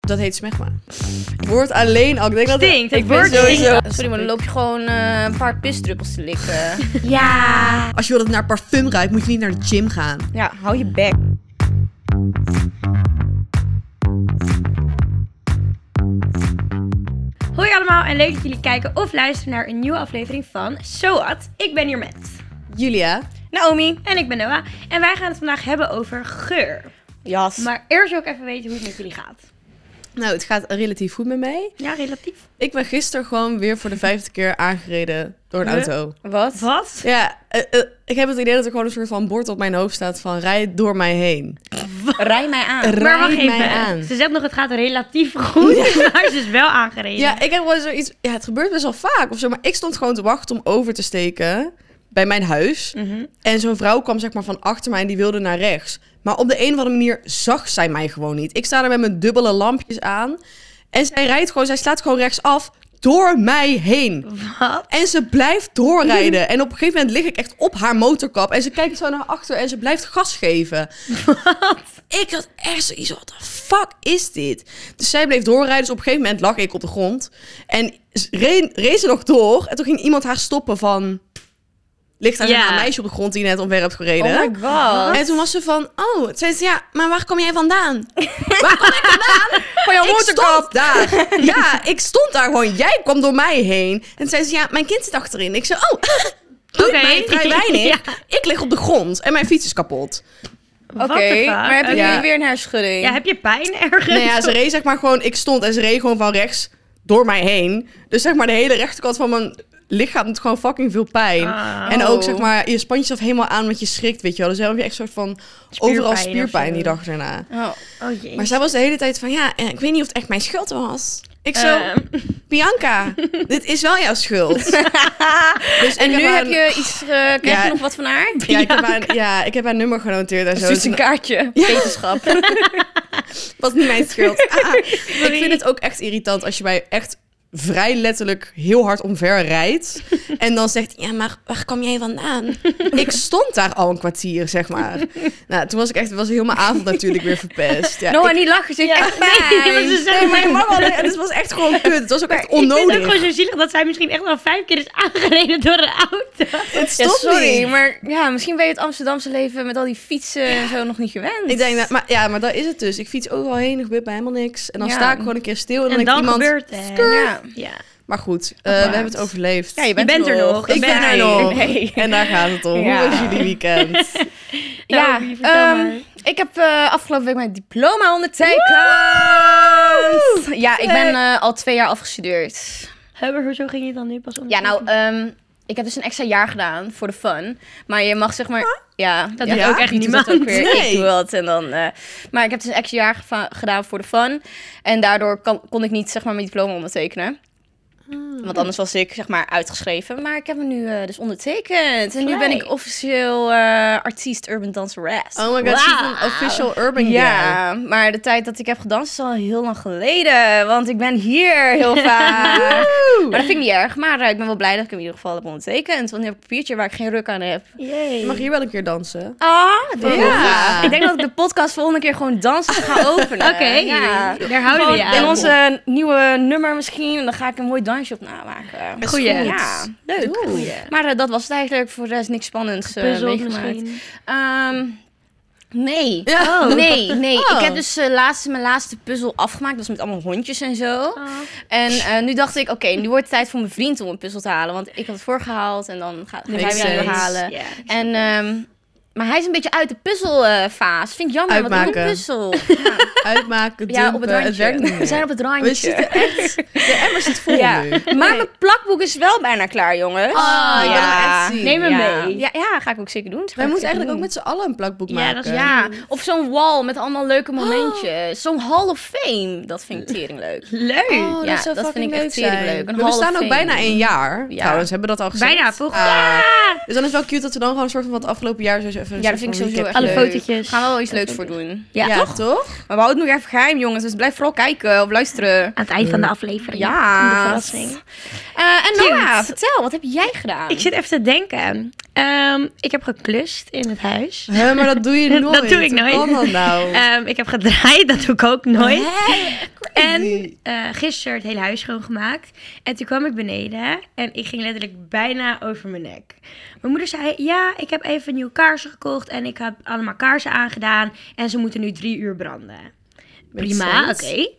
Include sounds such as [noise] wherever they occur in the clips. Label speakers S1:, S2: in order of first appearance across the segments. S1: Dat heet smegma. Wordt alleen al. Ik denk dat
S2: Stinkt, het
S1: ik ben
S2: woord
S1: sowieso.
S2: stinkt.
S3: Sorry, maar dan loop je gewoon eh, een paar pisdruppels te likken.
S2: Ja.
S1: Als je wil dat het naar parfum ruikt, moet je niet naar de gym gaan.
S2: Ja, hou je bek. Hoi allemaal en leuk dat jullie kijken of luisteren naar een nieuwe aflevering van Soat. Ik ben hier met
S1: Julia,
S2: Naomi en ik ben Noah. En wij gaan het vandaag hebben over geur.
S3: Jas.
S2: Maar eerst wil ik even weten hoe het met jullie gaat.
S1: nou, het gaat relatief goed met mij.
S2: Ja, relatief.
S1: Ik ben gisteren gewoon weer voor de vijfde keer aangereden door een
S2: Huh?
S1: auto.
S3: Wat?
S2: Wat?
S1: Ja, eh, eh, ik heb het idee dat er gewoon een soort van bord op mijn hoofd staat van rijd door mij heen.
S3: Rij mij aan.
S1: Rijd
S2: maar wacht even.
S1: mij aan.
S2: Ze zegt nog, het gaat relatief goed. [laughs] Maar ze is dus wel aangereden.
S1: Ja, ik heb wel zoiets. Ja, het gebeurt best wel vaak of zo. Maar ik stond gewoon te wachten om over te steken bij mijn huis. En zo'n vrouw kwam zeg maar van achter mij en die wilde naar rechts. Maar op de een of andere manier zag zij mij gewoon niet. Ik sta er met mijn dubbele lampjes aan. En zij rijdt gewoon, zij slaat gewoon rechtsaf door mij heen.
S2: Wat?
S1: En ze blijft doorrijden. En op een gegeven moment lig ik echt op haar motorkap. En ze kijkt zo naar achter en ze blijft gas geven. Ik had echt zoiets wat de fuck is dit? Dus zij bleef doorrijden. Dus op een gegeven moment lag ik op de grond. En ze- reen- reed ze nog door. En toen ging iemand haar stoppen van... Ligt daar
S2: Ja.
S1: een meisje op de grond die net omver hebt gereden?
S3: Oh my god.
S1: en toen was ze van, oh, toen zei ze, ja, maar waar kom jij
S2: [laughs]
S1: vandaan? waar kom ik vandaan? Van jouw
S3: motorkap.
S1: daar.
S2: [laughs]
S1: Ja, ik stond daar gewoon. Jij kwam door mij heen. En toen zei ze, ja, mijn kind zit achterin. Ik zei, oh, [laughs] doe
S2: Oké.
S1: mij vrij weinig.
S2: [laughs] Ja.
S1: Ik lig op de grond en mijn fiets is kapot.
S3: Oké, maar heb je
S1: Ja.
S3: nu weer een hersenschudding?
S2: Ehm, Ja, heb je pijn ergens?
S1: Nou ja, ze reed zeg maar gewoon, ik stond en ze reed gewoon van rechts door mij heen. Dus zeg maar de hele rechterkant van mijn lichaam doet gewoon fucking veel pijn.
S2: Ah.
S1: En ook
S3: Oh.
S1: zeg maar, je spant jezelf helemaal aan want je schrikt, weet je wel. Dus dan heb je echt soort van
S2: Spierpijn
S1: overal
S2: of
S1: spierpijn
S2: zo.
S1: die dag daarna.
S3: Oh.
S2: Oh jee.
S1: Maar zij was de hele tijd van, ja, eh, ik weet niet of het echt mijn schuld was. Ik
S2: Ehm,
S1: zo, [laughs] Bianca, dit is wel jouw [laughs] schuld. dus
S3: En
S1: ik
S3: nu
S1: haar
S3: heb
S1: een-
S3: je iets... eh krijg
S1: Ja.
S3: je nog wat van haar?
S1: Ja ik, heb haar, ja, ik heb haar nummer genoteerd en zo.
S3: Stuurt ze een
S1: Het
S3: kaartje. Wetenschap.
S1: was niet mijn [laughs] schuld. Ah, ah. ik vind het ook echt irritant als je mij echt vrij letterlijk heel hard omver [laughs] rijdt. En dan zegt, ja, maar waar kwam jij vandaan? ik stond daar al een kwartier, zeg maar. Nou, toen was ik echt, was heel mijn avond natuurlijk weer verpest. Ja,
S3: Noah,
S1: ik-
S3: niet lachen. Ze heeft
S2: [laughs]
S3: echt
S2: Nee, want
S3: pijn.
S1: Nee,
S2: ze zei
S1: mijn mama, [laughs] nee, het was echt gewoon kut. Het was ook echt
S2: Ik vind het
S1: onnodig.
S2: gewoon zo zielig dat zij misschien echt al vijf keer is aangereden door een auto.
S1: Het
S3: Ja,
S1: stond
S3: sorry,
S1: niet.
S3: maar ja, misschien ben je het Amsterdamse leven met al die fietsen en zo nog niet gewend.
S1: Ik denk, dat, maar, ja, maar dat is het dus. Ik fiets overal heen, er gebeurt bij helemaal niks. En dan
S3: Ja.
S1: sta ik gewoon een keer stil en dan,
S2: En
S1: denk
S2: dan
S1: ik iemand...
S2: gebeurt het.
S3: ja.
S2: Ja.
S1: Maar goed, eh, we hebben het overleefd.
S3: Ja, je bent,
S2: Je bent er nog.
S1: ik ben er
S2: Nee,
S1: nog.
S3: nee.
S1: En daar gaat het om.
S3: Ja.
S1: Hoe was jullie
S3: [laughs]
S1: weekend?
S3: Ja,
S2: Naomi, vertel
S3: ehm,
S2: maar.
S3: ik heb eh, afgelopen week mijn diploma ondertekend. Ja, ik ben eh, al twee jaar afgestudeerd.
S2: Hè, maar hoezo ging je dan nu pas om?
S3: Ja, nou, ehm, ik heb dus een extra jaar gedaan voor de fun. Maar je mag zeg maar... Ja,
S2: Dat
S3: ja,
S2: doet ook echt
S3: wie doet dat
S2: niemand.
S3: ook weer.
S1: Nee.
S3: Ik doe dat en dan... eh, maar ik heb dus een extra jaar geva- gedaan voor de fun. En daardoor kan- kon ik niet zeg maar mijn diploma ondertekenen.
S1: Hmm.
S3: Want anders was ik zeg maar uitgeschreven. Maar ik heb hem nu eh, dus ondertekend. En nu ben ik
S2: Blij.
S3: officieel eh, artiest Urban Dance Rest.
S1: Oh my god, she's an official urban girl.
S3: Ja, maar de tijd dat ik heb gedanst is al heel lang geleden. Want ik ben hier heel vaak.
S1: [laughs]
S3: maar dat vind ik niet erg. Maar eh, ik ben wel blij dat ik hem in ieder geval heb ondertekend. Want nu heb ik een papiertje waar ik geen ruk aan heb.
S2: Jee.
S1: eh, Je mag hier wel een keer dansen.
S3: Ah, dat wil ik
S1: Ja.
S3: wel graag. Ik denk dat ik de podcast volgende keer gewoon dansen ga openen.
S2: Oké,
S3: Eh, Ja.
S2: daar houden we je aan.
S3: En onze nieuwe nummer misschien. En dan ga ik een mooi dansje op namaken.
S1: Is
S2: Goeie.
S1: goed.
S3: Ja, leuk.
S1: Doe.
S3: Maar eh, dat was het eigenlijk. Voor de rest niks spannends eh,
S2: Puzzle
S3: meegemaakt.
S2: misschien.
S3: Ehm, nee.
S1: Ja.
S3: Oh. Nee, nee.
S1: Oh.
S3: Ik heb dus eh, laatst, mijn laatste puzzel afgemaakt. Dat was met allemaal hondjes en zo.
S1: Oh.
S2: Ah,
S3: En eh, nu dacht ik, oké, nu wordt het tijd voor mijn vriend om een puzzel te halen. Want ik had het voorgehaald en dan gaat gaat hij
S1: Makes
S3: weer
S1: sense.
S3: halen.
S2: Ja.
S3: En, ehm, maar hij is een beetje uit de puzzelfase. Vind ik jammer, want ik
S1: Uitmaken.
S3: een
S1: [laughs]
S3: puzzel. Ja,
S1: Uitmaken,
S3: [laughs] Ja, op het
S1: dumpen, het werkt niet
S3: randje.
S1: meer.
S3: We zijn op het
S1: We
S3: randje.
S1: zitten echt... De emmer zit vol
S3: Ja.
S1: nu.
S3: Maar mijn plakboek is wel bijna klaar, jongens.
S1: Ah, ik wil hem echt zien.
S2: Neem hem
S3: ja.
S2: mee.
S3: Ja, ja, ga ik ook zeker doen. Dat ga
S1: Wij
S3: ik
S1: moeten eigenlijk
S3: zeker
S1: ook
S3: doen.
S1: met z'n allen een plakboek
S2: Ja,
S1: maken.
S2: dat is
S3: Mm. Ja, of zo'n wall met allemaal leuke momentjes. Zo'n Hall of Fame, dat vind ik tering leuk. Dus
S2: Leuk.
S1: Oh, dat
S3: Ja,
S1: zou
S3: dat vind
S1: fucking
S3: ik echt
S1: leuk
S3: tering
S1: zijn.
S3: leuk. Een
S1: We
S3: Hall of
S1: bestaan ook
S3: Fame.
S1: bijna een jaar.
S3: Ja.
S1: Trouwens, hebben we dat al gezegd?
S2: Bijna, toch?
S1: Ah.
S2: Ja.
S1: Dus dan is het wel cute dat we dan gewoon een soort van wat afgelopen jaar zo even... een
S3: Ja,
S1: soort
S3: dat vind ik
S1: van
S3: sowieso echt
S1: recap
S2: Alle
S3: leuk.
S1: doen.
S2: fotootjes.
S3: Gaan we wel iets leuks voor doen.
S2: Ja.
S1: Ja, toch?
S3: Maar we houden het nog even geheim, jongens. Dus blijf vooral kijken of luisteren.
S2: Aan het eind van de aflevering. Een
S3: Ja.
S2: verrassing.
S3: Eh, en
S2: Cute.
S3: Noah, vertel, wat heb jij gedaan?
S2: Ik zit even te denken. Ehm, ik heb geklust in het huis.
S1: Hè, maar [laughs] dat doe je
S2: Dat
S1: nooit.
S2: doe ik
S1: Hoe
S2: nooit.
S1: [laughs] kan dat nou?
S2: [laughs] Ehm, ik heb gedraaid, dat doe ik ook nooit.
S1: Hè?
S2: En eh, gisteren het hele huis schoongemaakt. En toen kwam ik beneden en ik ging letterlijk bijna over mijn nek. Mijn moeder zei, ja, ik heb even nieuwe kaarsen gekocht en ik heb allemaal kaarsen aangedaan. En ze moeten nu drie uur branden. Prima, oké.
S1: sense.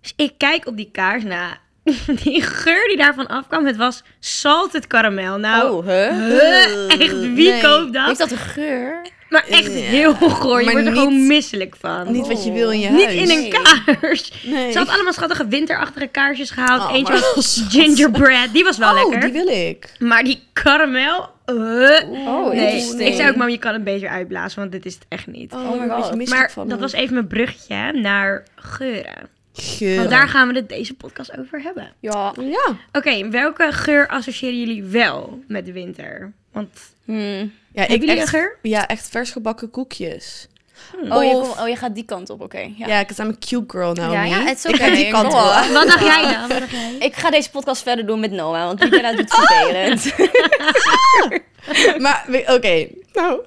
S2: Dus ik kijk op die kaars na. [laughs] Die geur die daarvan afkwam, het was salted karamel. Nou,
S3: Oh, hè?
S2: huh, echt, wie
S1: Nee,
S2: koopt dat?
S3: Heeft dat een geur?
S2: Maar echt heel goor. Je
S1: maar
S2: wordt er
S1: niet-
S2: gewoon misselijk van.
S1: Oh. Niet wat je wil in je
S2: Niet
S1: huis.
S2: in een
S3: Nee.
S2: kaars.
S1: Nee.
S2: Ze had allemaal schattige winterachtige kaarsjes gehaald.
S1: Oh,
S2: Eentje
S1: maar
S2: was
S1: wel schat.
S2: gingerbread. Die was wel
S1: Oh,
S2: lekker.
S1: die wil ik.
S2: Maar die karamel. eh,
S3: Oh,
S2: nee.
S3: interesting.
S2: Ik zei ook, mam, je kan een beetje uitblazen, want dit is het echt niet.
S1: Oh,
S3: my
S1: daar word je
S3: God.
S2: maar
S1: misselijk van
S2: dat
S1: me.
S2: was even mijn bruggetje naar geuren.
S1: Geur.
S2: Want daar gaan we het deze podcast over hebben.
S3: Ja.
S1: Ja.
S2: Oké, welke geur associëren jullie wel met de winter? Want
S3: Hmm.
S1: ja
S2: Hebben
S1: ik
S2: jullie
S1: echt,
S2: een geur?
S1: Ja, echt vers gebakken koekjes.
S3: Oh, je
S1: Of-
S3: kom- oh, je gaat die kant op, oké. Ja.
S1: Ja, ik het aan mijn cute girl nou
S3: Ja,
S1: niet.
S3: ja, it's
S1: Ik ga
S3: okay,
S1: die kant
S3: go
S1: op.
S3: on.
S2: wat dacht jij dan? Wat dacht jij?
S3: Ik ga deze podcast verder doen met Noah, want Michaela doet [laughs] vervelend.
S1: Maar, we- oké. Nou,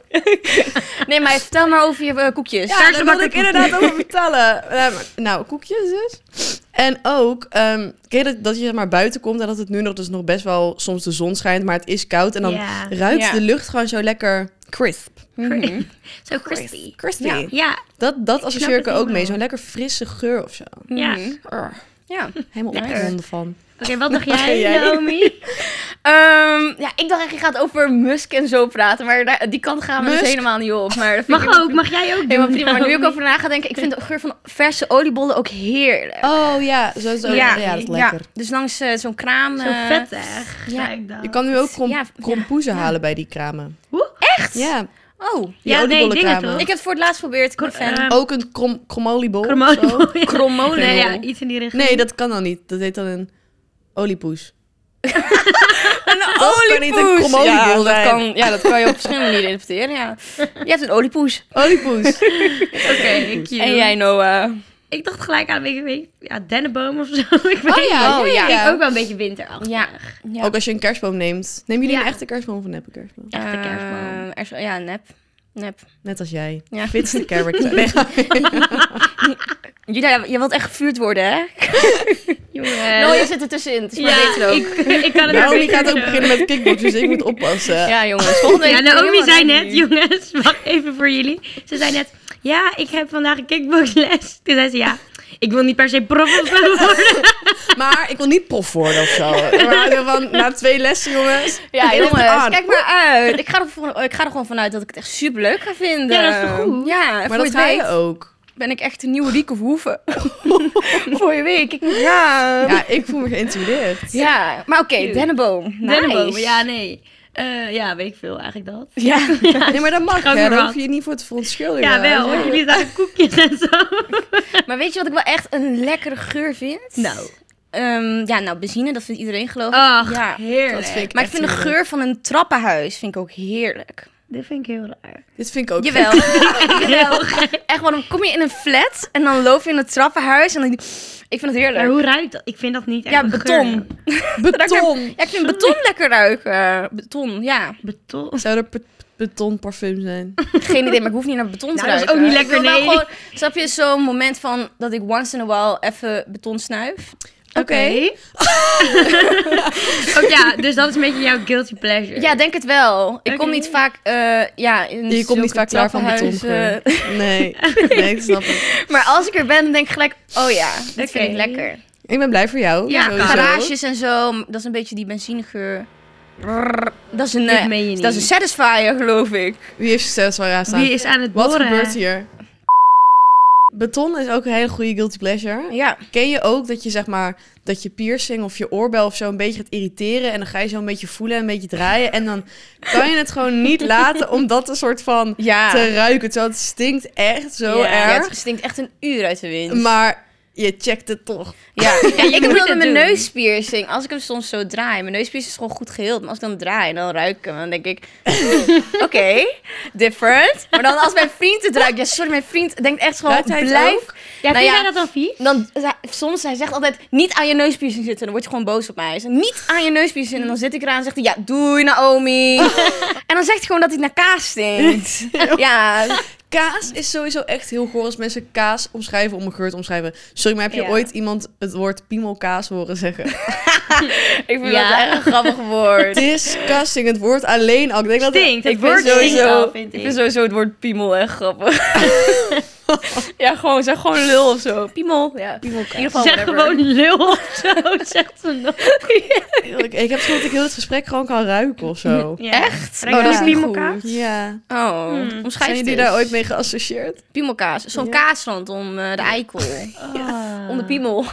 S3: Nee, maar vertel maar over je eh, koekjes.
S1: ja, daar wilde ik inderdaad over vertellen. Ehm, nou, koekjes dus. En ook, ehm ken je dat, dat je zeg maar buiten komt en dat het nu nog, dus nog best wel soms de zon schijnt, maar het is koud. En dan
S2: Ja.
S1: ruikt
S3: Ja.
S1: de lucht gewoon zo lekker crisp.
S3: Mhm.
S2: [laughs] Zo crispy.
S1: Crispy.
S3: Ja.
S2: Ja,
S1: Dat, dat associeer ik
S2: het
S1: er ook mee.
S2: helemaal.
S1: Zo'n lekker frisse geur of zo.
S2: ja.
S3: Mhm.
S1: Urgh,
S3: Ja.
S1: helemaal
S3: Lekker.
S1: opgewonden van.
S2: Oké, wat dacht
S1: Wat
S2: jij,
S1: dacht jij?
S3: [laughs]
S2: Naomi?
S3: Ehm, ja, ik dacht echt, je gaat over Musk en zo praten, maar daar- die kant gaan we
S1: Musk?
S3: dus helemaal niet op. Maar dat vind
S2: Mag
S3: ik helemaal
S2: ook, mag jij ook doen?
S3: Helemaal prima. Maar nu ik
S2: Naomi?
S3: over na ga denken, ik vind de geur van verse oliebollen ook heerlijk.
S1: Oh ja, zo, zo, ja. dat is lekker.
S3: Ja, dus langs eh, zo'n kraam.
S2: Zo
S3: eh,
S2: vettig,
S3: ja.
S2: ja. ik dan.
S1: Je kan nu ook krom,
S3: Ja,
S1: krompoezen halen bij die kramen.
S2: Hoe?
S1: Echt? Ja,
S3: Oh,
S1: die
S2: Ja, nee,
S1: oliebollenkramen.
S2: dingen toch?
S3: ik heb het voor het laatst geprobeerd. Ik ben fan.
S2: eh,
S1: Ook een krom, kromoliebol? of Oh, zo?
S2: Kromolen. [laughs] Ja.
S3: Kromolen.
S2: Nee, ja, iets in die richting.
S1: Nee, dat kan dan niet. Dat heet dan een oliepoes.
S3: een
S1: kan niet een kromoliebol
S3: ja, dat
S1: zijn.
S3: kan, ja, dat kan je op verschillende manieren interpreteren. Ja. Je hebt een oliepoes.
S1: Oliepoes.
S2: Oké, cute.
S3: En jij, Noah.
S2: Ik dacht gelijk aan, weet je, weet je, ja, dennenboom of zo. [laughs] Ik weet
S1: Oh ja,
S3: Oh,
S1: ja,
S3: ja.
S1: ja.
S2: ook wel een beetje winterachtig.
S3: Ja. ja.
S1: Ook als je een kerstboom neemt. Neem jullie
S2: Ja.
S1: een echte kerstboom of een neppe kerstboom?
S2: Echte kerstboom.
S3: Eh, er is- ja, nep. Nep.
S1: Net als jij.
S3: Ja. [laughs]
S1: Fitste character. [laughs] Nee, ga-
S3: Jullie, je wilt echt gevuurd worden, hè?
S2: Jongens.
S1: Nou,
S3: Noah, je zit er tussenin. Het is maar beter
S2: ja,
S3: ook.
S2: ik, ik kan het nou
S1: Naomi
S2: beter
S1: gaat ook
S2: zo.
S1: beginnen met kickboxen, dus ik moet oppassen.
S3: Ja, jongens. Volgende week.
S2: Ja, Naomi
S3: helemaal
S2: zei
S3: naar
S2: net, [laughs]
S3: nu.
S2: jongens, wacht even voor jullie. Ze zei net, ja, ik heb vandaag een kickboxles. Toen zei ze, ja, ik wil niet per se prof
S1: [laughs]
S2: of zo worden.
S1: Maar ik wil niet prof worden of
S3: [laughs]
S1: zo. Maar zo van, na twee lessen, jongens.
S3: Ja,
S1: ik lig
S3: jongens,
S1: eraan.
S3: kijk maar uit. Ik ga, er volgende- ik ga er gewoon vanuit dat ik het echt super leuk ga vinden.
S2: Ja, dat is toch goed?
S3: Ja, en
S1: Maar
S3: voor
S1: dat
S3: je
S1: ga
S3: het
S1: je
S3: weet
S1: ook.
S3: ben ik echt een nieuwe Rieke Verhoeven. [laughs] voor je weet, ik moet ja. ja.
S1: Ja, ik voel me geïntimideerd.
S3: maar oké, dennenboom. Nice.
S2: Dennenboom, ja, nee. Eh, ja, weet ik veel eigenlijk dat.
S1: [laughs]
S3: [laughs] Ja.
S1: Nee, maar dat mag,
S2: Ook
S1: hè. Daar
S2: weer wat.
S1: hoef je je niet voor te verontschuldigen.
S2: Ja, wel, want jullie zagen koekjes en zo.
S3: Maar weet je wat ik wel echt een lekkere geur vind?
S2: Nou.
S3: Ehm, ja, nou, benzine, dat vindt iedereen geloof ik.
S2: Ach,
S3: ja.
S2: heerlijk.
S1: Dat vind ik
S3: Maar ik
S1: echt
S3: vind de
S1: heerlijk.
S3: geur van een trappenhuis vind ik ook heerlijk.
S2: Dit vind ik heel raar.
S1: Dit vind ik ook [laughs]
S3: [laughs] Jawel. Jawel. Echt, want dan kom je in een flat en dan loop je in een trappenhuis en dan... Ik vind het heerlijk.
S2: Maar hoe ruikt dat? Ik vind dat niet echt
S3: Ja,
S2: een
S3: beton.
S2: geur.
S1: Beton.
S3: Ja, ik vind beton lekker ruiken. Beton, ja.
S2: Beton.
S1: Zou er pe- betonparfum
S3: [laughs]
S1: zijn?
S3: Geen idee, maar ik hoef niet naar beton te
S2: Nou, dat is
S3: ruiken.
S2: ook niet
S3: Ik
S2: lekker,
S3: wil wel
S2: nee.
S3: Gewoon, snap je, zo'n moment van dat ik once in a while even beton snuif?
S1: Oké.
S2: [laughs] Oké, ja, dus dat is een beetje jouw guilty pleasure.
S3: Ja, denk het wel. Ik kom
S2: Oké.
S3: niet vaak, eh, ja, in
S1: Je komt niet
S3: zulke
S1: vaak klaar van eh. betongeur.
S3: trappenhuizen.
S1: Nee, nee, ik snap het.
S3: [laughs] Maar als ik er ben, dan denk ik gelijk, oh ja, dit
S2: Oké.
S3: vind ik lekker.
S1: Ik ben blij voor jou.
S2: Ja,
S1: sowieso.
S3: Garages en zo, dat is een beetje die benzinegeur. Brrr, Dat is een,
S2: Dit
S3: eh,
S2: meen je
S3: dat is een
S2: niet.
S3: satisfier, geloof ik.
S1: Wie heeft je zelfs wel raar staan?
S2: Wie is aan het
S1: Wat
S2: boren?
S1: gebeurt hier? Beton is ook een hele goede guilty pleasure.
S3: Ja.
S1: Ken je ook dat je zeg maar dat je piercing of je oorbel of zo een beetje gaat irriteren en dan ga je zo een beetje voelen en een beetje draaien en dan kan je het gewoon
S3: [laughs]
S1: niet laten om dat een soort van
S3: Ja.
S1: te ruiken. Terwijl het stinkt echt zo
S3: ja. Ja,
S1: erg,
S3: het stinkt echt een uur uit de wind.
S1: maar je checkt het toch.
S3: Ja, ja, ik
S2: moet
S3: heb
S2: het
S3: dat mijn
S2: doen.
S3: neuspiercing. Als ik hem soms zo draai, mijn neuspiercing is gewoon goed geheeld. Maar als ik dan draai, dan ruik ik hem. Dan denk ik, oké, different. Maar dan als mijn vriend het ruikt, ja sorry, mijn vriend denkt echt gewoon,
S1: Ruikt hij het
S3: blijf.
S1: ook?
S2: Ja,
S3: Nou
S2: vind jij
S3: ja.
S2: dat dan vies?
S3: Dan, soms, hij zegt altijd, niet aan je neuspiercing zitten. Dan word je gewoon boos op mij. Hij zegt, niet aan je neuspiercing. En dan zit ik eraan en zegt hij, ja doei Naomi. en dan zegt hij gewoon dat hij naar kaas stinkt. ja,
S1: Kaas is sowieso echt heel goor als mensen kaas omschrijven om een geur te omschrijven. Sorry, maar heb je
S3: Ja.
S1: ooit iemand het woord piemelkaas horen zeggen?
S3: Ik vind
S2: Ja.
S3: dat echt een grappig woord.
S1: Disgusting, het woord alleen al. Ik denk dat
S2: Stinkt. Het
S3: ik vind
S2: woord stinkt
S3: sowieso,
S2: al,
S3: ik.
S2: vind ik.
S3: vind sowieso het woord piemel echt
S2: [laughs]
S3: grappig. ja, gewoon, zeg gewoon lul of zo. Piemel. Ja. In ieder geval
S2: Zeg
S3: whatever.
S2: gewoon lul of
S3: [laughs]
S2: zo, zegt ze nog.
S1: Ik, ik heb het gevoel dat ik heel het gesprek gewoon kan ruiken of zo.
S3: Echt?
S2: Denk Oh, dat
S1: is
S2: die
S1: niet
S2: elkaar?
S1: goed. [laughs] Ja.
S3: Oh,
S2: Hmm.
S3: omschrijf
S1: Zijn
S3: het
S1: jullie
S3: eens.
S1: daar ooit mee geassocieerd?
S3: Piemelkaas. Zo'n
S1: Ja.
S3: kaasland om eh, de eikel.
S2: Ah.
S3: Om de piemel.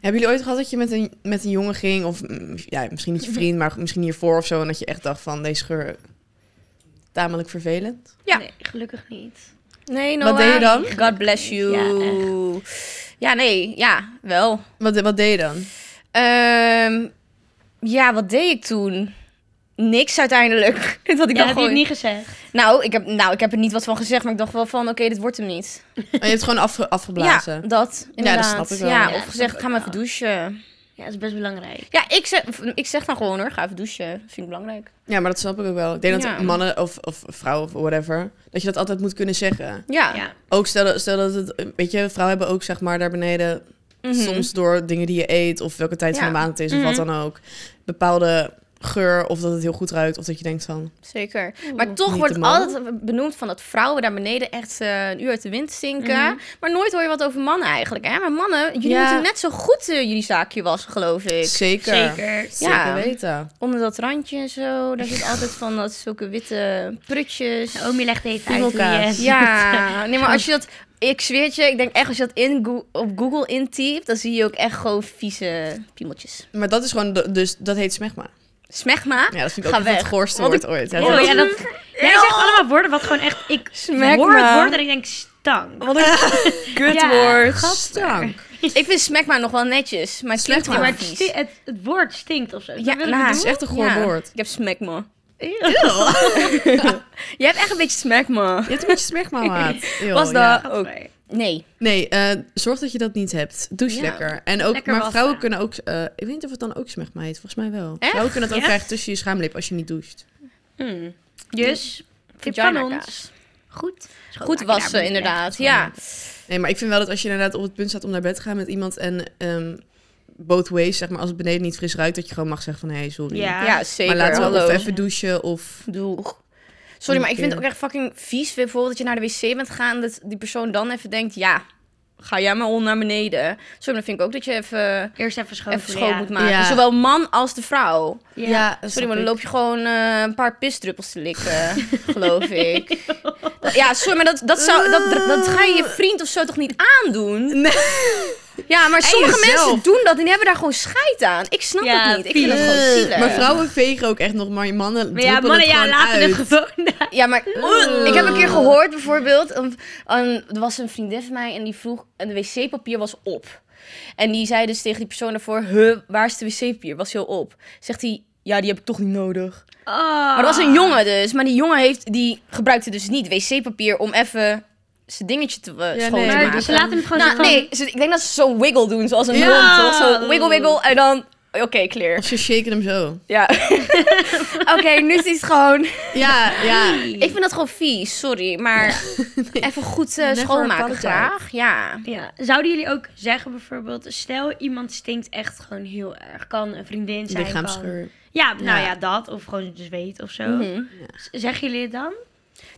S1: Hebben jullie ooit gehad dat je met een, met een jongen ging? Of mm, ja, misschien niet je vriend, maar misschien hiervoor of zo. En dat je echt dacht van, deze geur... Tamelijk vervelend.
S3: Ja.
S2: Nee, gelukkig niet.
S3: Nee,
S1: Wat deed je dan?
S3: God bless you.
S2: Ja,
S3: Ja, nee, ja, wel.
S1: Wat, wat deed je dan? Oh,
S3: Ehm, ja, wat deed ik toen? Niks uiteindelijk. [laughs] Dat
S2: ja, heb
S3: ik dacht
S2: je het
S3: gewoon...
S2: niet gezegd?
S3: nou, ik heb, nou, ik heb er niet wat van gezegd, maar ik dacht wel van, oké, dit wordt hem niet.
S1: Oh, je hebt gewoon afge- afgeblazen.
S3: Ja, dat. Inderdaad.
S1: snap ik wel.
S3: Ja,
S2: Ja,
S3: of
S2: dat
S3: gezegd,
S2: snap
S3: ga
S2: ik
S3: maar
S2: wel.
S3: even douchen.
S2: Ja, dat is best belangrijk.
S3: Ja, ik zeg, ik zeg dan gewoon hoor, ga even douchen. Dat vind ik belangrijk.
S1: Ja, maar dat snap ik ook wel. Ik denk
S3: Ja.
S1: dat mannen of, of vrouwen of whatever, dat je dat altijd moet kunnen zeggen.
S3: Ja.
S2: Ja.
S1: Ook stel, dat- stel dat het, weet je, vrouwen hebben ook zeg maar daar beneden,
S3: Mhm.
S1: soms door dingen die je eet of welke tijd van
S3: Ja. Mhm.
S1: de maand het is of wat dan ook, bepaalde geur of dat het heel goed ruikt of dat je denkt van,
S3: Zeker. Maar toch
S1: Niet
S3: wordt
S1: de
S3: het
S1: man.
S3: altijd benoemd van dat vrouwen daar beneden echt eh, een uur uit de wind stinken. Maar nooit hoor je wat over mannen eigenlijk. Hè? Maar mannen, jullie
S1: Ja.
S3: moeten net zo goed eh, jullie zaakje wassen, geloof ik.
S1: zeker,
S2: Zeker.
S1: Zeker
S3: Ja.
S1: weten.
S3: Onder dat randje en zo. Daar zit altijd van dat zulke witte prutjes.
S1: Oh. [laughs]
S2: Omi legt even uit eh, hoe
S1: Piemelkaas.
S2: je-
S3: Ja, nee, maar als je dat... Ik zweer het je, ik denk echt als je dat in Goo- op Google intypt, dan zie je ook echt gewoon vieze piemeltjes.
S1: Maar dat is gewoon, de- dus dat heet smegma.
S3: Smegma?
S1: Ja, dat vind ik
S3: Ga
S1: ook echt
S3: weg.
S1: het goorste
S3: Want
S1: woord ooit. Ja,
S2: Oh,
S1: dat-
S2: ja, dat... Jij zegt allemaal woorden wat gewoon echt... Ik
S3: Smack
S2: hoor het
S3: me.
S2: woord en ik denk stank.
S3: Wat een kutwoord.
S2: Ja.
S1: Stank.
S3: ik vind smegma nog wel netjes, maar het klinkt
S1: Smegma.
S2: Ja,
S3: gewoon
S2: maar het,
S3: vies.
S2: sti- het, het woord stinkt of zo.
S3: Ja,
S2: Wil ik het
S3: nou,
S1: Het is
S2: doen?
S1: echt een goor
S3: Ja.
S1: woord.
S3: Ik heb smegma.
S2: Eeuw.
S3: Jij hebt echt een beetje smegma.
S1: Je hebt een beetje
S3: [laughs]
S1: smegma, maat. Eeuw,
S3: Was dat?
S1: ja.
S3: ook.
S2: Gadver.
S3: Nee.
S1: Nee, eh, zorg dat je dat niet hebt. Douche
S3: Ja.
S1: lekker. En ook,
S2: Lekker
S1: maar
S2: wassen.
S1: vrouwen kunnen ook... eh, ik weet niet of het dan ook smegma heet. Volgens mij wel. Vrouwen kunnen het ook
S2: Echt?
S1: krijgen tussen je schaamlip als je niet doucht.
S2: Dus, tip van
S3: Vagina
S2: ons.
S3: kaas.
S2: Goed.
S3: Goed
S2: schoonmaken daar moet je
S3: wassen,
S2: echt
S3: inderdaad. Ja.
S1: Nee, maar ik vind wel dat als je inderdaad op het punt staat om naar bed te gaan met iemand... en ehm, both ways, zeg maar, als het beneden niet fris ruikt... dat je gewoon mag zeggen van, hé, hey, sorry.
S2: Ja.
S3: ja, zeker.
S1: maar laten we
S3: Hallo.
S1: of even douchen of...
S3: Doeg. Sorry, maar ik vind het ook
S1: Keer.
S3: echt fucking vies. Bijvoorbeeld dat je naar de wc bent gegaan en dat die persoon dan even denkt... Ja, ga jij maar onder naar beneden. Sorry, maar dan vind ik ook dat je even,
S2: Eerst even schoon.
S3: even
S2: voelen,
S3: schoon
S2: ja.
S3: moet maken.
S1: Ja.
S3: Zowel man als de vrouw.
S2: Ja.
S1: dat
S3: Sorry,
S1: snap
S3: maar dan
S1: ik.
S3: loop je gewoon eh, een paar pisdruppels te likken,
S1: [laughs]
S3: geloof ik. Dat- Ja, sorry, maar dat, dat, zou, dat, dat ga je je vriend of zo toch niet aandoen?
S1: Nee.
S3: Ja, maar sommige
S1: jezelf.
S3: mensen doen dat en die hebben daar gewoon scheid aan. Ik snap
S2: Ja,
S3: het niet. Ik vind dat
S2: vies.
S3: gewoon zielig.
S1: Maar vrouwen vegen ook echt nog, maar mannen
S2: Maar ja, mannen,
S1: het
S2: ja,
S1: gewoon
S2: laten
S1: uit.
S2: het gewoon. [laughs]
S3: Ja, maar ik heb een keer gehoord bijvoorbeeld, een, een- er was een vriendin van mij en die vroeg, en de wc-papier was op. En die zei dus tegen die persoon daarvoor, huh, waar is de wc-papier? Was heel op. Zegt hij, ja, die heb ik toch niet nodig.
S2: Oh.
S3: Maar dat was een jongen dus. Maar die jongen heeft, die gebruikte dus niet wc-papier om even zijn dingetje te eh,
S1: Ja,
S3: schoon
S1: nee.
S3: te
S1: Maar
S3: maken.
S2: ze laten hem gewoon
S3: Nou,
S2: zo van-
S3: nee, ze- ik denk dat ze zo'n wiggle doen, zoals een
S2: Ja.
S3: hond. Toch? Zo wiggle, wiggle en dan... Oké, clear.
S1: Ze shaken hem zo.
S3: Ja. Oké, nu is het gewoon...
S1: Ja, ja.
S3: Ik vind dat gewoon vies, sorry. Maar even goed eh,
S1: Never
S3: schoonmaken
S1: apologize.
S3: graag. Ja.
S2: Ja. Zouden jullie ook zeggen bijvoorbeeld, stel iemand stinkt echt gewoon heel erg. Kan een vriendin zijn. Kan...
S1: Lichaamsgeur.
S2: Ja, nou ja.
S1: Ja.
S2: dat. Of gewoon zweet of zo.
S3: Mhm.
S2: Z- Zeggen jullie het dan?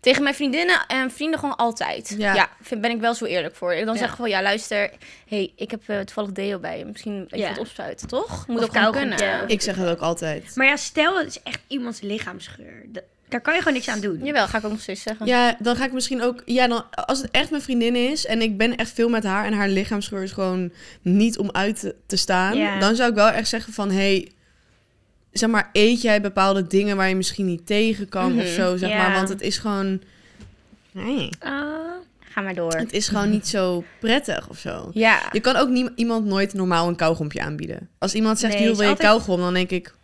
S3: Tegen mijn vriendinnen en vrienden gewoon altijd. Ja,
S1: Ja.
S3: vind, ben ik wel zo eerlijk voor. Ik dan
S2: Ja.
S3: zeg ik gewoon, ja luister, hey, ik heb eh, toevallig deo bij je. Misschien even
S2: Ja.
S3: wat opspuiten, toch? Moet
S2: Of
S3: ook gewoon
S2: kauwgompje.
S3: kunnen.
S1: Ik zeg het ook altijd.
S2: Maar ja, stel het is echt iemands lichaamsgeur. Da- Daar kan je gewoon niks aan doen.
S3: Jawel, ga ik ook nog steeds zeggen.
S1: Ja, dan ga ik misschien ook. Ja, dan, als het echt mijn vriendin is en ik ben echt veel met haar en haar lichaamsgeur is gewoon niet om uit te, te staan,
S2: Ja.
S1: dan zou ik wel echt zeggen van hey, zeg maar, eet jij bepaalde dingen waar je misschien niet tegen kan of zo, zeg
S2: Ja.
S1: maar, want het is gewoon. Nee.
S2: Ah.
S3: Ga maar door.
S1: Het is gewoon niet zo prettig of zo.
S3: Ja.
S1: Je kan ook nie- iemand nooit normaal een kauwgompje aanbieden. Als iemand zegt,
S2: Nee,
S1: "Joh,
S2: is
S1: wil je
S2: altijd-
S1: kauwgom? Dan denk ik,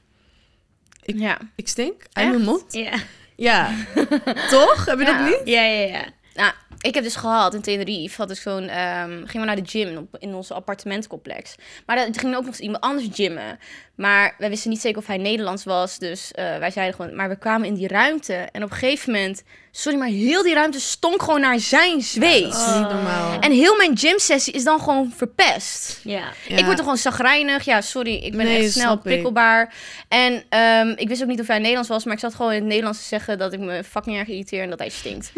S3: ja.
S1: ik stink uit mijn
S3: Echt?
S1: mond.
S2: ja.
S1: Ja. Toch? Heb je
S3: Ja.
S1: dat niet?
S2: Ja, ja, ja.
S3: Nou, ik heb dus gehad in Tenerife, had ik zo'n, ehm, gingen we naar de gym op- in ons appartementcomplex. Maar er ging ook nog eens iemand anders gymmen. Maar we wisten niet zeker of hij Nederlands was, dus eh, wij zeiden gewoon, maar we kwamen in die ruimte. En op een gegeven moment, sorry, maar heel die ruimte stonk gewoon naar zijn zweet.
S1: Dat is niet normaal.
S3: En heel mijn gymsessie is dan gewoon verpest.
S2: Ja.
S1: Ja.
S3: Ik word er gewoon zagrijnig. Ja, sorry, ik ben
S1: Nee,
S3: echt snel
S1: snap ik.
S3: prikkelbaar. En ehm, ik wist ook niet of hij Nederlands was, maar ik zat gewoon in het Nederlands te zeggen dat ik me fucking erg irriteer en dat hij stinkt.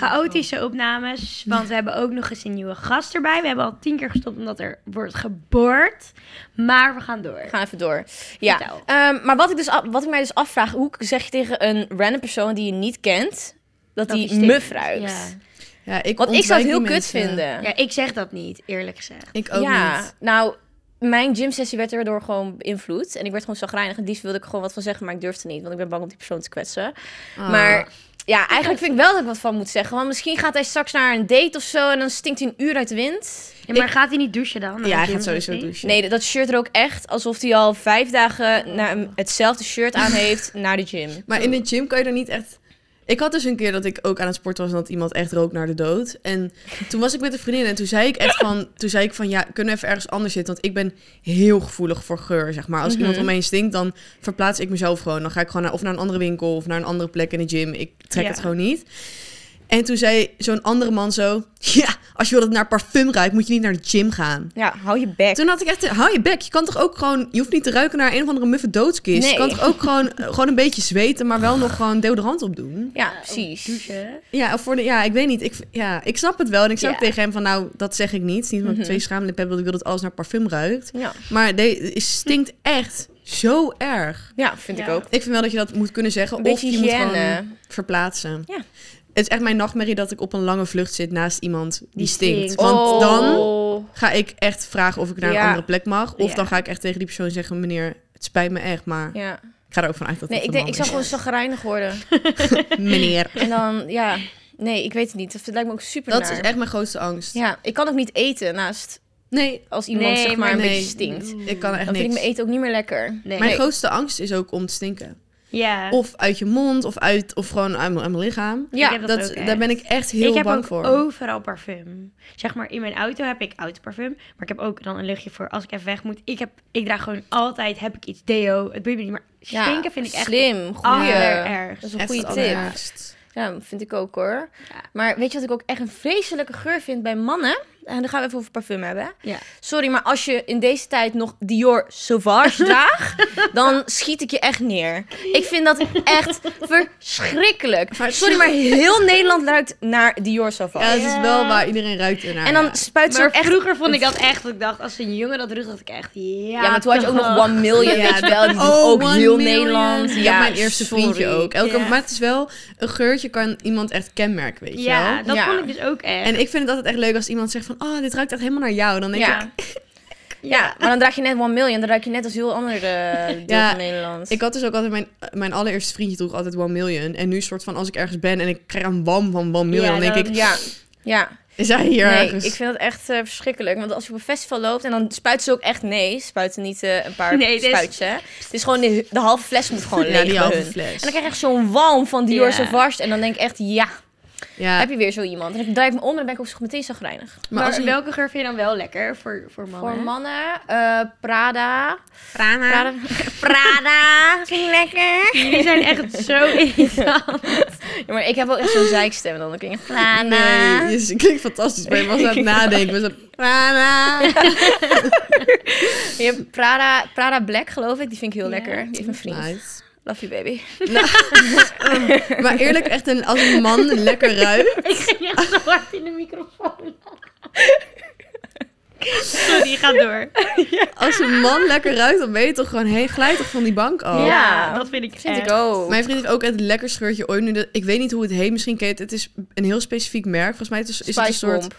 S2: Chaotische opnames, want we hebben ook nog eens een nieuwe gast erbij. We hebben al tien keer gestopt omdat er wordt geboord. Maar we gaan door.
S3: We gaan even door. Ja.
S2: Vertel.
S3: Ehm, maar wat ik, dus, af- wat ik mij dus afvraag, hoe zeg je tegen een random persoon die je niet kent, dat
S2: Dat
S3: die
S2: stinkt.
S3: muf ruikt?
S2: Ja.
S1: Ja, ik
S3: Want ik zou het heel
S1: ontwijk die
S3: kut
S1: mensen.
S3: vinden.
S2: ja, ik zeg dat niet, eerlijk gezegd.
S1: Ik ook
S3: ja.
S1: niet.
S3: Nou, mijn gymsessie werd daardoor gewoon beïnvloed. En ik werd gewoon zagrijnig. En liefst wilde ik er gewoon wat van zeggen, maar ik durfde niet. Want ik ben bang om die persoon te kwetsen.
S1: Ah.
S3: Maar ja, eigenlijk vind ik wel dat ik wat van moet zeggen. Want misschien gaat hij straks naar een date of zo en dan stinkt hij een uur uit de wind.
S2: Ja, maar gaat hij niet douchen dan?
S1: Ja, hij gaat sowieso douchen.
S3: Nee, dat shirt er ook echt alsof hij al vijf dagen na hetzelfde shirt
S1: [laughs]
S3: aan heeft naar de gym.
S1: Maar in de gym kan je er niet echt... Ik had dus een keer dat ik ook aan het sporten was en dat iemand echt rook naar de dood. En toen was ik met een vriendin en toen zei ik echt van... Toen zei ik van, ja, kunnen we even ergens anders zitten? Want ik ben heel gevoelig voor geur, zeg maar. Als
S3: Mhm.
S1: iemand om me heen stinkt, dan verplaats ik mezelf gewoon. Dan ga ik gewoon naar, of naar een andere winkel of naar een andere plek in de gym. Ik trek
S2: Ja.
S1: het gewoon niet. En toen zei zo'n andere man zo... Ja, als je wil dat het naar parfum ruikt, moet je niet naar de gym gaan.
S3: Ja, hou je
S1: [laughs]
S3: bek.
S1: Toen had ik echt, hou je bek. Je kan toch ook gewoon, je hoeft niet te ruiken naar een of andere muffe doodskist. Je kan
S3: Nee.
S1: toch ook gewoon, eh, gewoon een beetje zweten, maar wel nog gewoon deodorant op doen.
S3: Ja, precies.
S2: Douchen.
S1: Ja, of voor de, ja ik weet niet. Ik, ja, Mhm. ik snap het wel. En ik zei ook
S2: Ja.
S1: tegen hem van, nou, dat zeg ik niet. Het is niet omdat ik twee schaamlip heb, want ik wil dat alles naar parfum ruikt.
S3: Ja,
S1: Maar nee, het stinkt echt zo erg.
S3: ja vind ik
S2: Ja.
S3: ook.
S1: Ik vind wel dat je dat moet kunnen zeggen.
S3: Een
S1: of
S3: beetje
S1: je moet
S3: hygiëne.
S1: gewoon verplaatsen.
S3: Ja.
S1: Het is echt mijn nachtmerrie dat ik op een lange vlucht zit naast iemand die,
S2: Die
S1: stinkt.
S2: stinkt.
S1: Want
S3: Oh.
S1: dan ga ik echt vragen of ik naar een
S3: Ja.
S1: andere plek mag. Of
S2: Ja.
S1: dan ga ik echt tegen die persoon zeggen: meneer, het spijt me echt, maar
S3: Ja.
S1: ik ga er ook van uit dat
S3: Nee,
S1: het
S3: ik,
S1: een
S3: denk,
S1: man
S3: ik zou
S1: is.
S3: gewoon zagrijnig worden. [laughs]
S1: meneer.
S3: En dan, ja. Nee, ik weet het niet. Dat lijkt me ook super
S1: Dat
S3: naar.
S1: is echt mijn grootste angst.
S3: Ja, ik kan ook niet eten naast
S1: Nee,
S3: als iemand
S2: Nee,
S3: zeg maar
S2: maar
S3: een
S1: nee. Mm.
S3: beetje stinkt. Dan
S1: ik kan echt
S3: vind ik
S1: niks.
S3: mijn eten ook niet meer lekker.
S2: Nee.
S1: Mijn grootste angst is ook om te stinken.
S2: Ja.
S1: Of uit je mond, of, uit, of gewoon uit mijn, uit mijn lichaam.
S2: Ik
S3: Ja,
S2: heb
S1: Dat,
S2: ook
S1: daar
S2: echt.
S1: ben ik echt heel
S2: ik heb
S1: bang
S2: ook
S1: voor.
S2: overal parfum. Zeg maar, in mijn auto heb ik autoparfum. Maar ik heb ook dan een luchtje voor als ik even weg moet. Ik, heb, ik draag gewoon altijd, heb ik iets deo. Het boeit me niet, maar
S3: Ja,
S2: stinken vind ik echt
S3: slim. Goeie.
S2: allerergst.
S3: Dat is een
S1: Echt
S3: goede
S1: het
S3: tip.
S1: allerergst.
S3: Ja, vind ik ook hoor. Maar weet je wat ik ook echt een vreselijke geur vind bij mannen? En dan gaan we even over parfum hebben. hè?
S2: Ja.
S3: Sorry, maar als je in deze tijd nog Dior
S2: [laughs]
S3: Sauvage draagt, dan schiet ik je echt neer. Ik vind dat echt verschrikkelijk.
S1: Maar-
S3: Sorry, maar heel Nederland ruikt naar Dior
S1: Ja,
S3: Sauvage.
S1: het is wel waar iedereen ruikt ernaar.
S3: En
S1: ja.
S3: dan spuit ze
S2: Maar
S3: ook echt...
S2: vroeger vond ik dat echt, dat ik dacht, als een jongen dat ruikt, dacht ik echt, ja.
S3: Ja, maar toen had je ook
S2: [laughs]
S3: nog
S2: toch.
S3: 1 Million, weet je wel. Die doet
S1: Oh,
S3: ook
S1: One
S3: heel
S1: Million.
S3: Nederland.
S1: Ja, mijn eerste
S3: sorry.
S1: vriendje ook. Elke,
S2: Ja.
S1: Maar het is wel, een geurtje kan iemand echt kenmerken, weet je wel.
S2: Ja, dat
S3: Ja.
S2: vond ik dus ook echt.
S1: En ik vind het altijd echt leuk als iemand zegt van... Oh, dit ruikt echt helemaal naar jou. Dan denk ik...
S3: Ja. Ja, maar dan draag je net 1 million. Dan ruik je net als heel ander eh,
S1: [laughs]
S3: deel
S1: Ja,
S3: van Nederland.
S1: Ik had dus ook altijd... Mijn, mijn allereerste vriendje droeg altijd One Million. En nu soort van als ik ergens ben en ik krijg een wam van One Million...
S2: Ja,
S1: dan denk
S2: dan-
S1: ik...
S3: Ja, ja.
S1: Is hij hier
S3: nee,
S1: ergens?
S3: ik vind dat echt eh, verschrikkelijk. Want als je op een festival loopt en dan spuiten ze ook echt... Nee, spuiten niet eh, een
S1: [laughs]
S3: paar
S2: Nee, dit is-
S3: spuitjes, hè. Het is gewoon de, de halve fles moet gewoon leeg
S1: ja, die
S3: bij
S1: halve
S3: hun.
S1: fles.
S3: En dan krijg je echt zo'n walm van Dior
S2: Ja.
S3: Sauvage. En dan denk ik echt, ja,
S1: ja,
S3: heb je weer zo iemand. En dan draai ik me om en dan ben ik ook meteen zo grijnig.
S2: maar
S1: maar als een
S2: welke geur vind je dan wel lekker voor, voor mannen?
S3: Voor
S2: [laughs]
S3: mannen, eh, Prada.
S1: Prana.
S3: Prada.
S1: Ah.
S3: [laughs] Prada. Vind je lekker?
S2: Jullie zijn echt zo irritant.
S3: Ja, maar ik heb wel echt
S1: [laughs]
S3: zo'n zeikstem. Dan denk ik, Prada.
S1: Nee, jezus, het klinkt fantastisch. Maar je was aan
S3: [laughs]
S1: het nadenken. Was dat, Prana.
S3: Je hebt Prada, Prada Black, geloof ik. Die vind ik heel
S2: Ja.
S3: lekker. Die is mijn vriend.
S1: Nice.
S3: Love you, baby.
S1: Maar eerlijk, echt een, als een man lekker ruikt...
S2: ik ging echt zo hard in de microfoon. Sorry, ga door.
S1: Als een man lekker ruikt, dan ben je toch gewoon... Hé, glijd toch van die bank af.
S2: Ja, dat vind ik
S3: Vind
S2: echt.
S3: ik ook.
S1: Mijn vriend heeft ook het lekker scheurtje ooit. Nu dat, ik weet niet hoe het heet. Misschien kent het. is een heel specifiek merk. Volgens mij het is, is het een
S3: Spice
S1: soort...
S3: Bomb.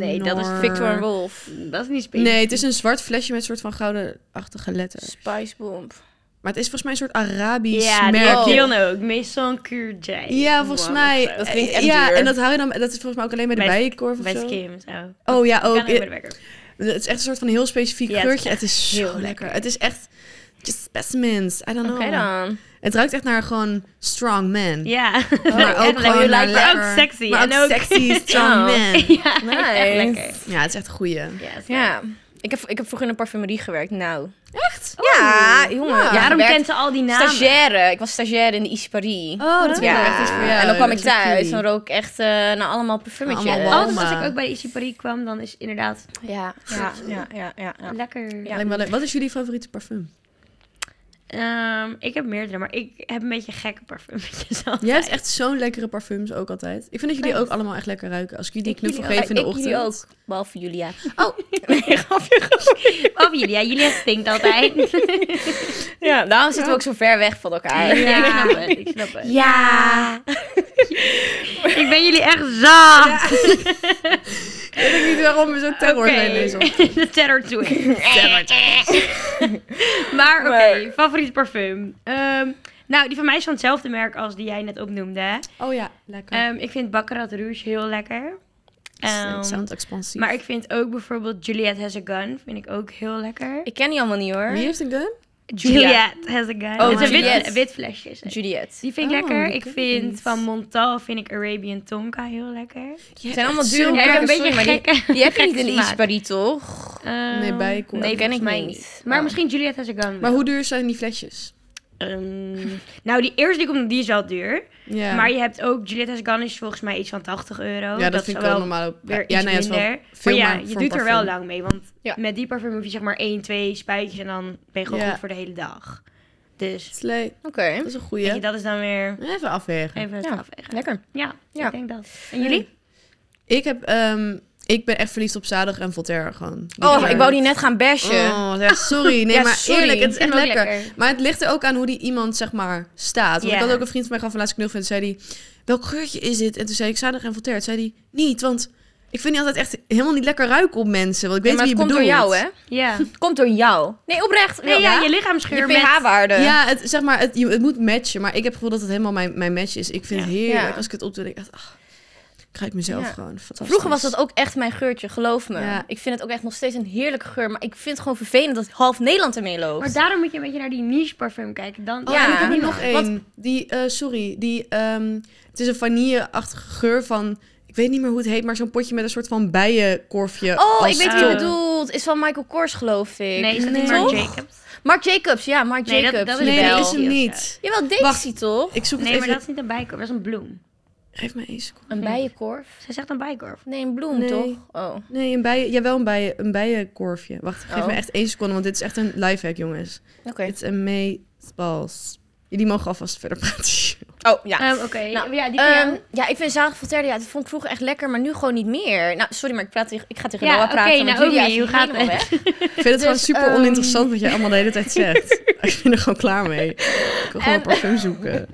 S2: Nee, dat is,
S1: Nor-
S3: Victor and Rolf.
S2: dat is niet specifiek.
S1: Nee, het is een zwart flesje met soort van goudenachtige letters.
S3: Spice Bomb.
S1: Maar het is volgens mij een soort Arabisch
S2: Ja, die
S1: merk.
S2: heb
S3: merk.
S2: je dan ook. Maison Curjay.
S1: Ja, volgens mij. Eh,
S3: Dat klinkt echt
S1: ja,
S3: duur.
S1: en dat hou je dan. Dat is volgens mij ook alleen bij de
S2: Bij-
S1: bijenkorf of
S2: Bij
S1: zo.
S2: Skims ook.
S1: Oh ja,
S2: Kan
S1: ook.
S2: ook bij de wekker.
S1: Het is echt een soort van heel specifiek
S2: Ja, het is
S1: geurtje. Het is,
S2: heel
S1: zo lekker.
S2: lekker.
S1: Het is echt just specimens. I don't know.
S3: Oké dan.
S1: Het ruikt echt naar gewoon strong man.
S2: Ja.
S1: Oh,
S2: [laughs]
S1: Maar ook
S2: lekker.
S1: gewoon naar
S3: lijkt
S2: maar ook
S1: lekker-
S2: sexy
S1: Maar
S2: en
S1: ook,
S2: ook- [laughs]
S1: sexy, strong
S3: Oh.
S1: man.
S2: ja, echt lekker.
S1: Ja, het is echt een goeie.
S2: Ja, is leuk.
S3: Ja. Ik heb, ik heb vroeger in een parfumerie gewerkt. Nou.
S1: Echt?
S3: Ja, jongen.
S1: Ja.
S3: ik
S2: Daarom
S3: werkte-
S2: kent ze al die namen.
S3: Stagiaire. Ik was stagiaire in de Ici Paris.
S1: Oh, dat is
S3: ja.
S1: wel echt iets voor jou.
S3: En dan kwam ik
S1: Dat is echt
S3: thuis en
S1: cool.
S3: rook ik echt eh naar allemaal parfummetjes.
S1: Allemaal
S2: Oh, dus als
S1: Oma.
S2: ik ook bij de Issy Paris kwam, dan is het inderdaad
S3: Ja, ja, ja, ja, ja. ja.
S2: lekker.
S3: Ja.
S1: Lijkt me wel leuk. Wat is jullie favoriete parfum?
S2: Ehm, ik heb meerdere, maar ik heb een beetje gekke parfumetjes al.
S1: Jij hebt echt zo'n lekkere parfums ook altijd. Ik vind dat jullie ook allemaal echt lekker ruiken. Als ik jullie
S3: Ik
S1: die knuffel
S3: jullie ook.
S1: geef in de
S3: Ik
S1: ochtend.
S3: jullie ook, behalve Julia.
S1: Oh.
S3: [laughs] Nee, grapje, grapje. [laughs]
S2: Of jullie, ja, Oh, jullie stinkt altijd.
S3: Ja, daarom zitten we ook zo ver weg van elkaar.
S2: Ja, ik snap het. Ik snap het.
S3: Ja.
S2: Ik ben jullie echt zat.
S1: Ik weet niet waarom we zo terror
S2: Oké.
S1: zijn deze ochtend.
S2: [laughs] De terror twin. [laughs] Maar oké,
S3: Maar-
S2: favoriet parfum. Ehm, nou, die van mij is van hetzelfde merk als die jij net opnoemde.
S1: Oh ja, lekker.
S2: Ehm, ik vind Baccarat Rouge heel lekker. Ehm,
S1: Sound expansief.
S2: maar ik vind ook bijvoorbeeld Juliette Has a Gun vind ik ook heel lekker.
S3: Ik ken die allemaal niet hoor.
S1: Wie heeft een gun?
S2: Juliette Has a Gun.
S3: Oh,
S2: Het is een wit,
S3: Juliette.
S2: wit flesje. is het.
S3: Juliette.
S2: Die vind ik
S1: Oh,
S2: lekker.
S1: die
S2: Ik
S1: ken ik
S2: vind
S1: niet.
S2: van Montal vind ik Arabian Tonka heel lekker.
S1: Het
S3: zijn allemaal dure
S2: Hij
S3: merken,
S2: heeft een beetje
S3: sorry, maar [laughs]
S2: gekke,
S3: Die heb je niet in de
S2: gekke
S3: Ici Paris, toch?
S2: smaak.
S1: Oh, Nee,
S2: Ehm,
S1: bij Cor.
S2: Nee,
S3: Dat ken ik
S2: volgens mij
S3: niet.
S2: niet. Maar
S3: Oh.
S2: misschien Juliette Has a Gun.
S1: Maar
S2: wel.
S1: hoe duur zijn die flesjes?
S2: Ehm, nou, die eerste die komt, die is wel duur.
S1: Ja,
S2: Maar je hebt ook Juliette Has a Gun is volgens mij iets van 80 euro.
S1: ja dat, vind ik wel normaal.
S2: Weer
S1: ja,
S2: iets
S1: nee, dat is wel
S2: minder.
S1: veel
S2: maar ja,
S1: maar
S2: je
S1: voor
S2: doet er wel
S1: parfum.
S2: lang mee. Want
S3: Ja.
S2: met die parfum hoef je zeg maar 1, 2 spuitjes en dan ben je gewoon
S1: Ja.
S2: goed voor de hele dag. Dus
S1: Slee.
S3: Oké.
S1: Dat is een
S2: weet je,
S1: goeie.
S2: dat is dan weer
S1: Even afwegen.
S2: even het
S3: Ja.
S2: afwegen.
S3: Lekker.
S2: Ja,
S3: Ja.
S2: ik denk dat. En jullie?
S1: Ik heb, ehm, ik ben echt verliefd op Zadig en Voltaire gewoon. Die
S3: Oh,
S1: kleur.
S3: ik wou die net gaan bashen.
S1: Oh, ja, sorry. Nee,
S3: Ja,
S1: maar
S3: sorry.
S1: eerlijk, het is
S2: Ik vind
S1: echt
S2: hem ook
S1: lekker.
S2: lekker.
S1: Maar het ligt er ook aan hoe die iemand, zeg maar, staat. Want
S2: Ja.
S1: ik had ook een vriend van mij gaf een laatst knuffel en toen zei die, welk geurtje is dit? En toen zei ik, Zadig en Voltaire. Toen zei die, niet, want ik vind die altijd echt helemaal niet lekker ruiken op mensen. Want ik weet
S3: maar
S1: wie
S3: het
S1: je
S3: komt door
S1: bedoelt.
S3: jou, hè? [laughs]
S2: Ja.
S3: Het komt door jou. Nee, oprecht.
S2: Nee, ja, je
S3: je
S2: lichaamsgeur met...
S3: pH-waarde.
S1: Ja, het, zeg maar, het, je- het moet matchen. Maar ik heb het gevoel dat het helemaal mijn, mijn match is. Ik vind het heerlijk.
S3: Ja.
S1: Als ik het opdoe, denk ik echt... ach, ik ruik mezelf
S3: Ja.
S1: gewoon fantastisch.
S3: Vroeger was dat ook echt mijn geurtje, geloof me.
S1: Ja.
S3: Ik vind het ook echt nog steeds een heerlijke geur. Maar ik vind het gewoon vervelend dat half Nederland ermee loopt.
S2: Maar daarom moet je een beetje naar die niche parfum kijken. Dan,
S1: Oh,
S3: Ja.
S1: ja, en ik heb er nog
S3: Want-
S1: één. Die, eh, sorry, die, ehm, het is een vanille-achtige geur van, ik weet niet meer hoe het heet, maar zo'n potje met een soort van bijenkorfje.
S3: Oh,
S1: als
S3: ik weet
S1: top.
S3: wie je
S2: Oh.
S3: bedoelt. Is van Michael Kors, geloof ik.
S2: Nee, is dat
S1: Nee.
S2: niet Marc
S1: Toch?
S2: Jacobs?
S3: Marc Jacobs, ja, Marc
S2: Nee, dat-
S3: Jacobs.
S2: dat
S1: Nee,
S3: jawel.
S1: dat
S2: wel.
S1: is hem niet.
S3: Jawel, Daisy
S1: Wacht.
S3: toch?
S1: Ik zoek het
S2: Nee, maar
S1: even.
S2: dat is niet een bijkorf. Dat is een bloem.
S1: Geef mij één seconde.
S3: Een bijenkorf?
S2: Zij zegt een bijkorf.
S3: Nee, een bloem,
S1: Nee.
S3: toch? Oh.
S1: Nee, een bijen, jawel, een, bijen, een bijenkorfje. Wacht, geef
S3: Oh.
S1: me echt één seconde, want dit is echt een lifehack, jongens.
S3: Oké.
S1: It's amazeballs. Jullie mogen alvast verder
S3: [laughs]
S1: praten.
S3: Oh, ja.
S2: Ehm, Oké,
S3: Nou,
S2: ja, die van jou?
S3: Ehm, ja, ik vind zalig Voltaire, ja, dat vond ik vroeger echt lekker, maar nu gewoon niet meer. Nou, sorry, maar ik, praat, tegen- ik ga tegen
S2: Ja,
S3: Noah praten,
S2: oké,
S3: want
S2: Naomi,
S3: Julia is
S2: hoe gaat
S3: helemaal
S2: het?
S3: weg.
S1: Ik vind het gewoon
S3: Dus,
S1: super
S3: ehm,
S1: oninteressant wat jij allemaal de hele
S3: [laughs]
S1: tijd zegt. ik ben er gewoon klaar mee. Ik wil gewoon
S3: En-
S1: een parfum zoeken.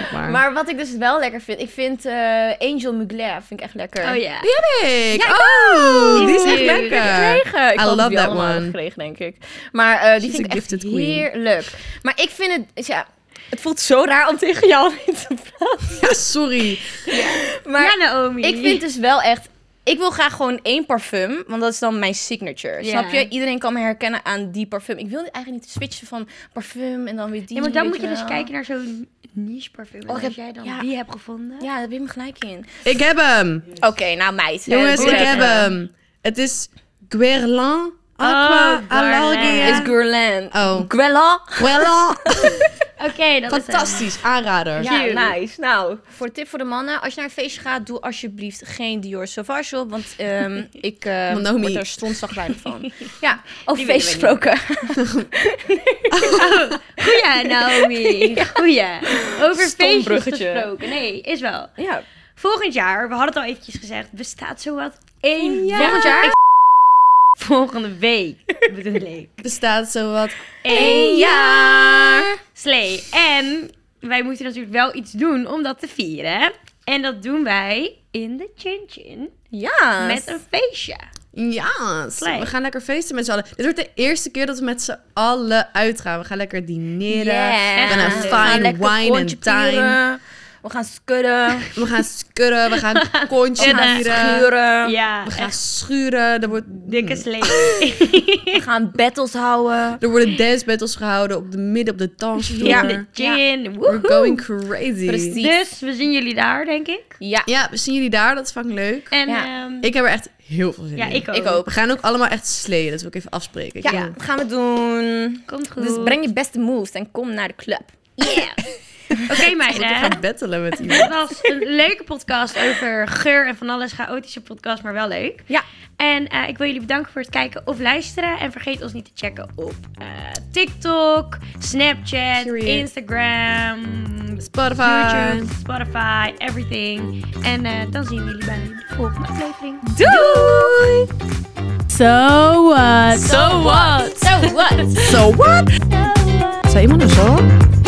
S1: Zeg maar.
S3: Maar wat ik dus wel lekker vind, ik vind eh, Angel Mugler vind ik echt lekker.
S2: Oh ja.
S1: Ik-
S3: Ja, ik
S1: oh,
S3: ook.
S1: die is echt
S3: Die heb ik
S1: lekker.
S3: gekregen. Ik
S1: I
S3: had
S1: love
S3: die
S1: that
S3: allemaal
S1: one.
S3: gekregen, denk ik. Maar eh, die
S1: She's
S3: vind
S1: a
S3: ik echt
S1: gifted queen.
S3: heerlijk. Maar ik vind het, dus ja, het voelt zo raar om tegen jou [laughs] te praten.
S1: Ja, sorry.
S3: Maar
S2: ja, Naomi.
S3: ik vind dus wel echt, ik wil graag gewoon één parfum, want dat is dan mijn signature.
S2: Ja.
S3: Snap je? Iedereen kan me herkennen aan die parfum. Ik wil eigenlijk niet switchen van parfum en dan weer die.
S2: Ja, maar dan
S3: weet
S2: moet je dus
S3: wel.
S2: kijken naar zo'n niche parfum. En
S3: Oh, ik
S2: als
S3: heb-
S2: jij dan
S3: ja.
S2: die hebt gevonden.
S3: Ja, daar ben je me gelijk in.
S1: Ik heb hem.
S3: Oké, nou meid.
S1: Jongens,
S3: Eh,
S1: ik
S2: Boer.
S1: heb hem. Het is Guerlain Aqua
S2: Oh,
S1: Alagia.
S3: Is Guerlain.
S1: Oh.
S3: Guerlain.
S1: Guerlain.
S2: Oké, dat eh,
S1: Fantastisch, aanrader.
S3: Ja,
S2: Cute.
S3: nice. Nou, voor de tip voor de mannen. Als je naar een feestje gaat, doe alsjeblieft geen Dior Sauvage op. Want [laughs] ehm, ik eh
S1: Want Naomi-
S3: word er stondzagrijnig [laughs] van. ja, over
S2: Die
S3: feest
S2: willen we
S3: gesproken.
S2: is het. Goeie,
S3: [laughs]
S2: Naomi. Goeie. Over
S3: Stom
S2: feestjes
S3: bruggetje.
S2: gesproken. Nee, is wel.
S3: ja.
S2: Volgend jaar, we hadden het al eventjes gezegd, bestaat zowat één
S1: Ja.
S2: jaar.
S3: Volgend jaar?
S2: Volgende week,
S3: [laughs]
S2: bedoel ik.
S1: Bestaat zowat
S2: Eén
S1: jaar.
S2: Slee. En wij moeten natuurlijk wel iets doen om dat te vieren. En dat doen wij in de Chin Chin.
S3: Ja.
S2: Met een feestje.
S1: Ja,
S2: Slay.
S1: we gaan lekker feesten met z'n allen. Dit wordt de eerste keer dat we met z'n allen uitgaan. We gaan lekker dineren.
S3: Yeah.
S1: We gaan
S2: Echt
S1: een
S2: leuk.
S1: fine wine and time.
S3: We gaan skudden.
S1: We gaan skudden, we gaan kontje
S2: Schudden.
S1: vieren.
S3: Schuren.
S2: Ja,
S1: Oh, We gaan Hmm.
S2: echt
S1: schuren. Er, wordt,
S2: dikke slee.
S1: [laughs]
S3: We gaan battles houden.
S1: er worden dance battles gehouden op de midden op de dansvloer.
S3: Ja.
S2: In de gin.
S1: We're
S2: woehoe.
S1: going crazy.
S3: Precies.
S2: Dus we zien jullie daar, denk ik.
S3: Ja,
S1: Ja, we zien jullie daar. Dat is fucking leuk.
S2: En
S3: Ja.
S2: ehm,
S1: Ik heb er echt heel veel zin
S2: ja,
S1: in.
S2: ik ook.
S3: ik ook.
S1: We gaan ook allemaal echt sleeën. Dat wil ik even afspreken. Ik
S3: Ja,
S1: bedoel,
S3: dat gaan we doen.
S2: Komt goed.
S3: Dus breng je beste moves en kom naar de club.
S1: [laughs]
S2: Yeah. Oké meiden.
S1: Ik ga battelen met iemand.
S2: Het was een leuke podcast over geur en van alles. Chaotische podcast, maar wel leuk.
S3: Ja.
S2: En eh, ik wil jullie bedanken voor het kijken of luisteren. En vergeet ons niet te checken op eh, TikTok, Snapchat,
S1: Period.
S2: Instagram,
S1: Spotify.
S2: YouTube, Spotify, everything. En eh, dan zien we jullie bij de volgende aflevering.
S3: Doei!
S4: So what?
S3: So what? So what?
S1: So what? Zou iemand nou zo?